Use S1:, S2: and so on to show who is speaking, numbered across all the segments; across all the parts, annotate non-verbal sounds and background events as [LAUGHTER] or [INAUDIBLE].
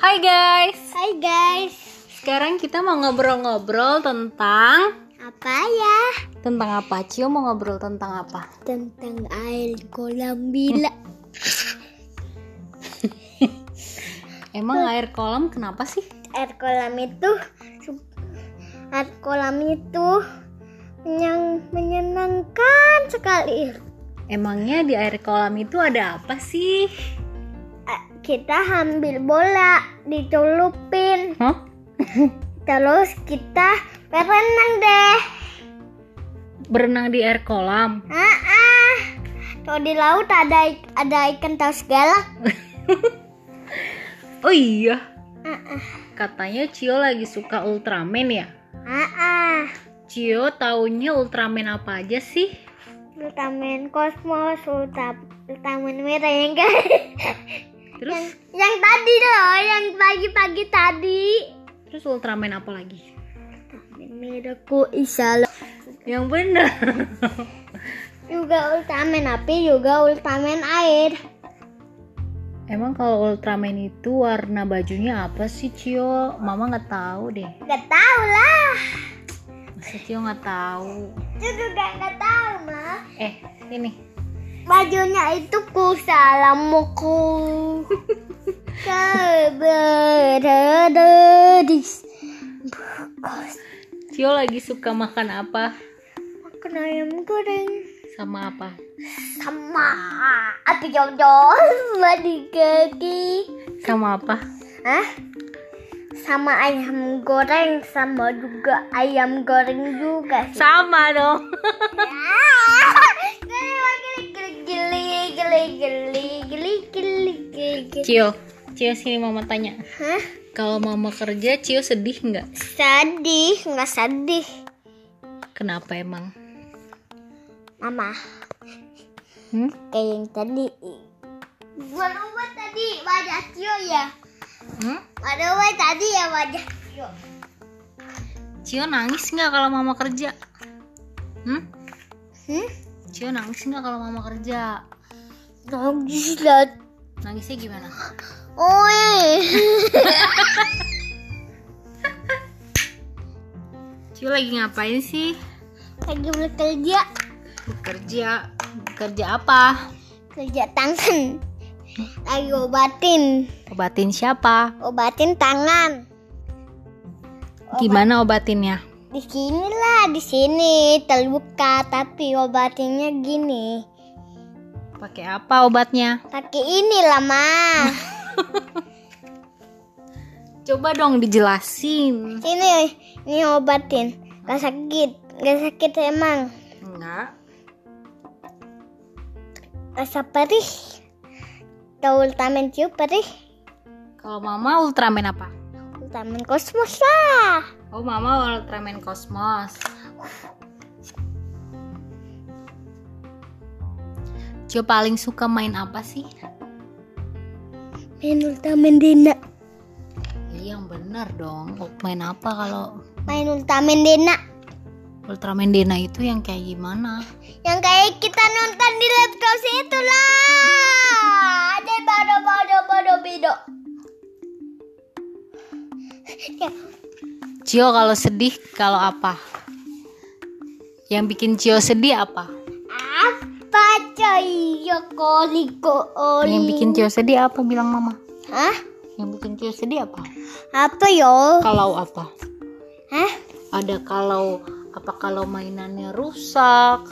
S1: Hai guys,
S2: Hai guys,
S1: sekarang kita mau ngobrol-ngobrol tentang
S2: apa ya
S1: tentang apa? Cio mau ngobrol tentang apa?
S2: tentang air kolam bila?
S1: Emang air kolam kenapa sih?
S2: Air kolam itu, air kolam itu yang menyenangkan sekali.
S1: Emangnya di air kolam itu ada apa sih?
S2: Eh, Kita ambil bola, dicelupin,
S1: Hah?
S2: terus kita berenang deh.
S1: Berenang di air kolam?
S2: Ah, ah. Kalau di laut ada ik- ada ikan taus galak.
S1: Oh iya,
S2: Ah, ah.
S1: katanya Cio lagi suka Ultraman ya?
S2: Ah, ah.
S1: Cio taunya Ultraman apa aja sih?
S2: Vitamin kosmos, utam- vitamin miring.
S1: Terus
S2: [LAUGHS] yang tadi loh, yang pagi-pagi tadi.
S1: terus Ultraman apa lagi?
S2: Miraku Isalo
S1: Yang bener. [LAUGHS]
S2: juga ultraman api juga ultraman air
S1: Emang kalau Ultraman itu warna bajunya apa sih Cio? Mama nggak tahu deh.
S2: gak tau lah
S1: Masa Cio nggak tahu?
S2: itu juga gak tau mah
S1: Eh, ini.
S2: bajunya itu ku salamuku kau berada di
S1: Cio lagi suka makan apa?
S2: makan ayam goreng
S1: Sama apa?
S2: sama api [LAUGHS] jodoh sama di kaki
S1: Sama apa?
S2: Hah? Sama ayam goreng, sama juga ayam goreng juga.
S1: Sama dong.
S2: Geli, geli, geli, geli, geli, geli, geli.
S1: Cio, Cio sini mama tanya.
S2: [LAUGHS] Hah?
S1: Kalau mama kerja, Cio sedih nggak?
S2: Sedih, nggak sedih,
S1: Kenapa emang?
S2: Mama.
S1: Hmm?
S2: Kayak yang tadi. Berubah tadi wajah Tio ya.
S1: Hmm?
S2: Berubah tadi ya wajah Tio.
S1: Cio nangis nggak kalau mama kerja? Hmm?
S2: Hmm?
S1: Cio nangis nggak kalau mama kerja?
S2: Nangis lah.
S1: Nangisnya gimana?
S2: Oi. [LAUGHS]
S1: Cio lagi ngapain sih?
S2: lagi bekerja
S1: Kerja. Kerja apa?
S2: kerja tangan lagi obatin
S1: Obatin siapa?
S2: obatin tangan
S1: Gimana obatinnya?
S2: di sini lah di sini terluka tapi obatinnya gini
S1: Pakai apa obatnya?
S2: pakai ini lah ma
S1: Coba dong dijelasin.
S2: sini ini obatin gak sakit gak sakit emang
S1: Enggak.
S2: rasa perih tahu ultraman cium perih
S1: Kalau mama Ultraman apa?
S2: ultraman kosmos lah
S1: Oh, mama Ultraman Cosmos. Cio paling suka main apa sih?
S2: main ultraman dina
S1: Iya, yang bener dong. Main apa kalau
S2: main ultraman dina
S1: Ultraman Dena itu yang kayak gimana?
S2: yang kayak kita nonton di laptop itu lah ada bodoh bodoh bodoh bido
S1: Cio kalau sedih kalau apa? Yang bikin Cio sedih apa?
S2: apa coy koli oli
S1: Yang bikin Cio sedih apa bilang mama?
S2: hah
S1: Yang bikin Cio sedih apa?
S2: apa yo
S1: Kalau apa?
S2: hah
S1: ada kalau apa kalau mainannya rusak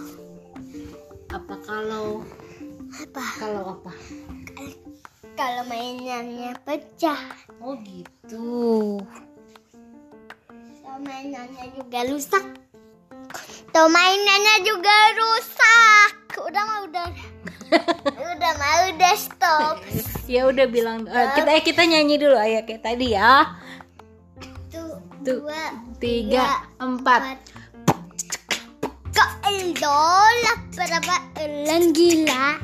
S1: apa kalau apa kalau apa
S2: kalau mainannya pecah
S1: oh gitu
S2: kalau mainannya juga rusak kalau mainannya juga rusak udah
S1: [LAUGHS]
S2: mau udah udah mau udah stop
S1: ya udah bilang eh, kita eh, kita nyanyi dulu ayah kayak tadi ya
S2: tuh
S1: Tuh.
S2: dua
S1: tiga empat
S2: Kok idola berapa elang gila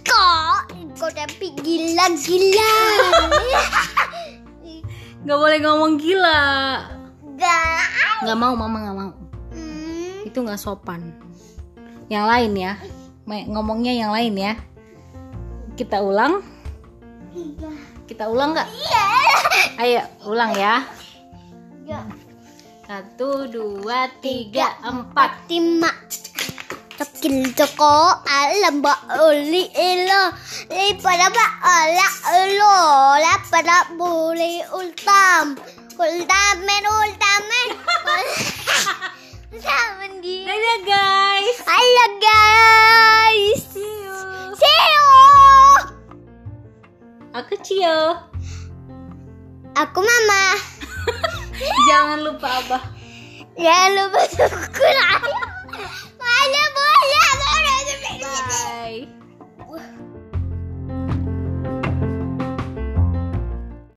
S2: Kok kau tapi gila-gila
S1: nggak boleh ngomong gila
S2: Gak
S1: nggak mau mama nggak mau
S2: hmm,
S1: itu nggak sopan yang lain ya Me- ngomongnya yang lain ya kita ulang Kita ulang nggak?
S2: Iya.
S1: Ayo, ulang ya.
S2: Ya.
S1: Satu, dua, tiga, empat.
S2: Fatima Tokil toko alam ba uli ilo Li pada ba ala ulo La pada buli ultam Ultamen ultamen Ultamen di
S1: Dadah guys.
S2: Halo guys
S1: See you.
S2: See you
S1: Aku Cio.
S2: Aku mama
S1: Jangan lupa Abah.
S2: Jangan [LAUGHS] lupa subscribe Mana boleh Mana boleh
S1: Bye.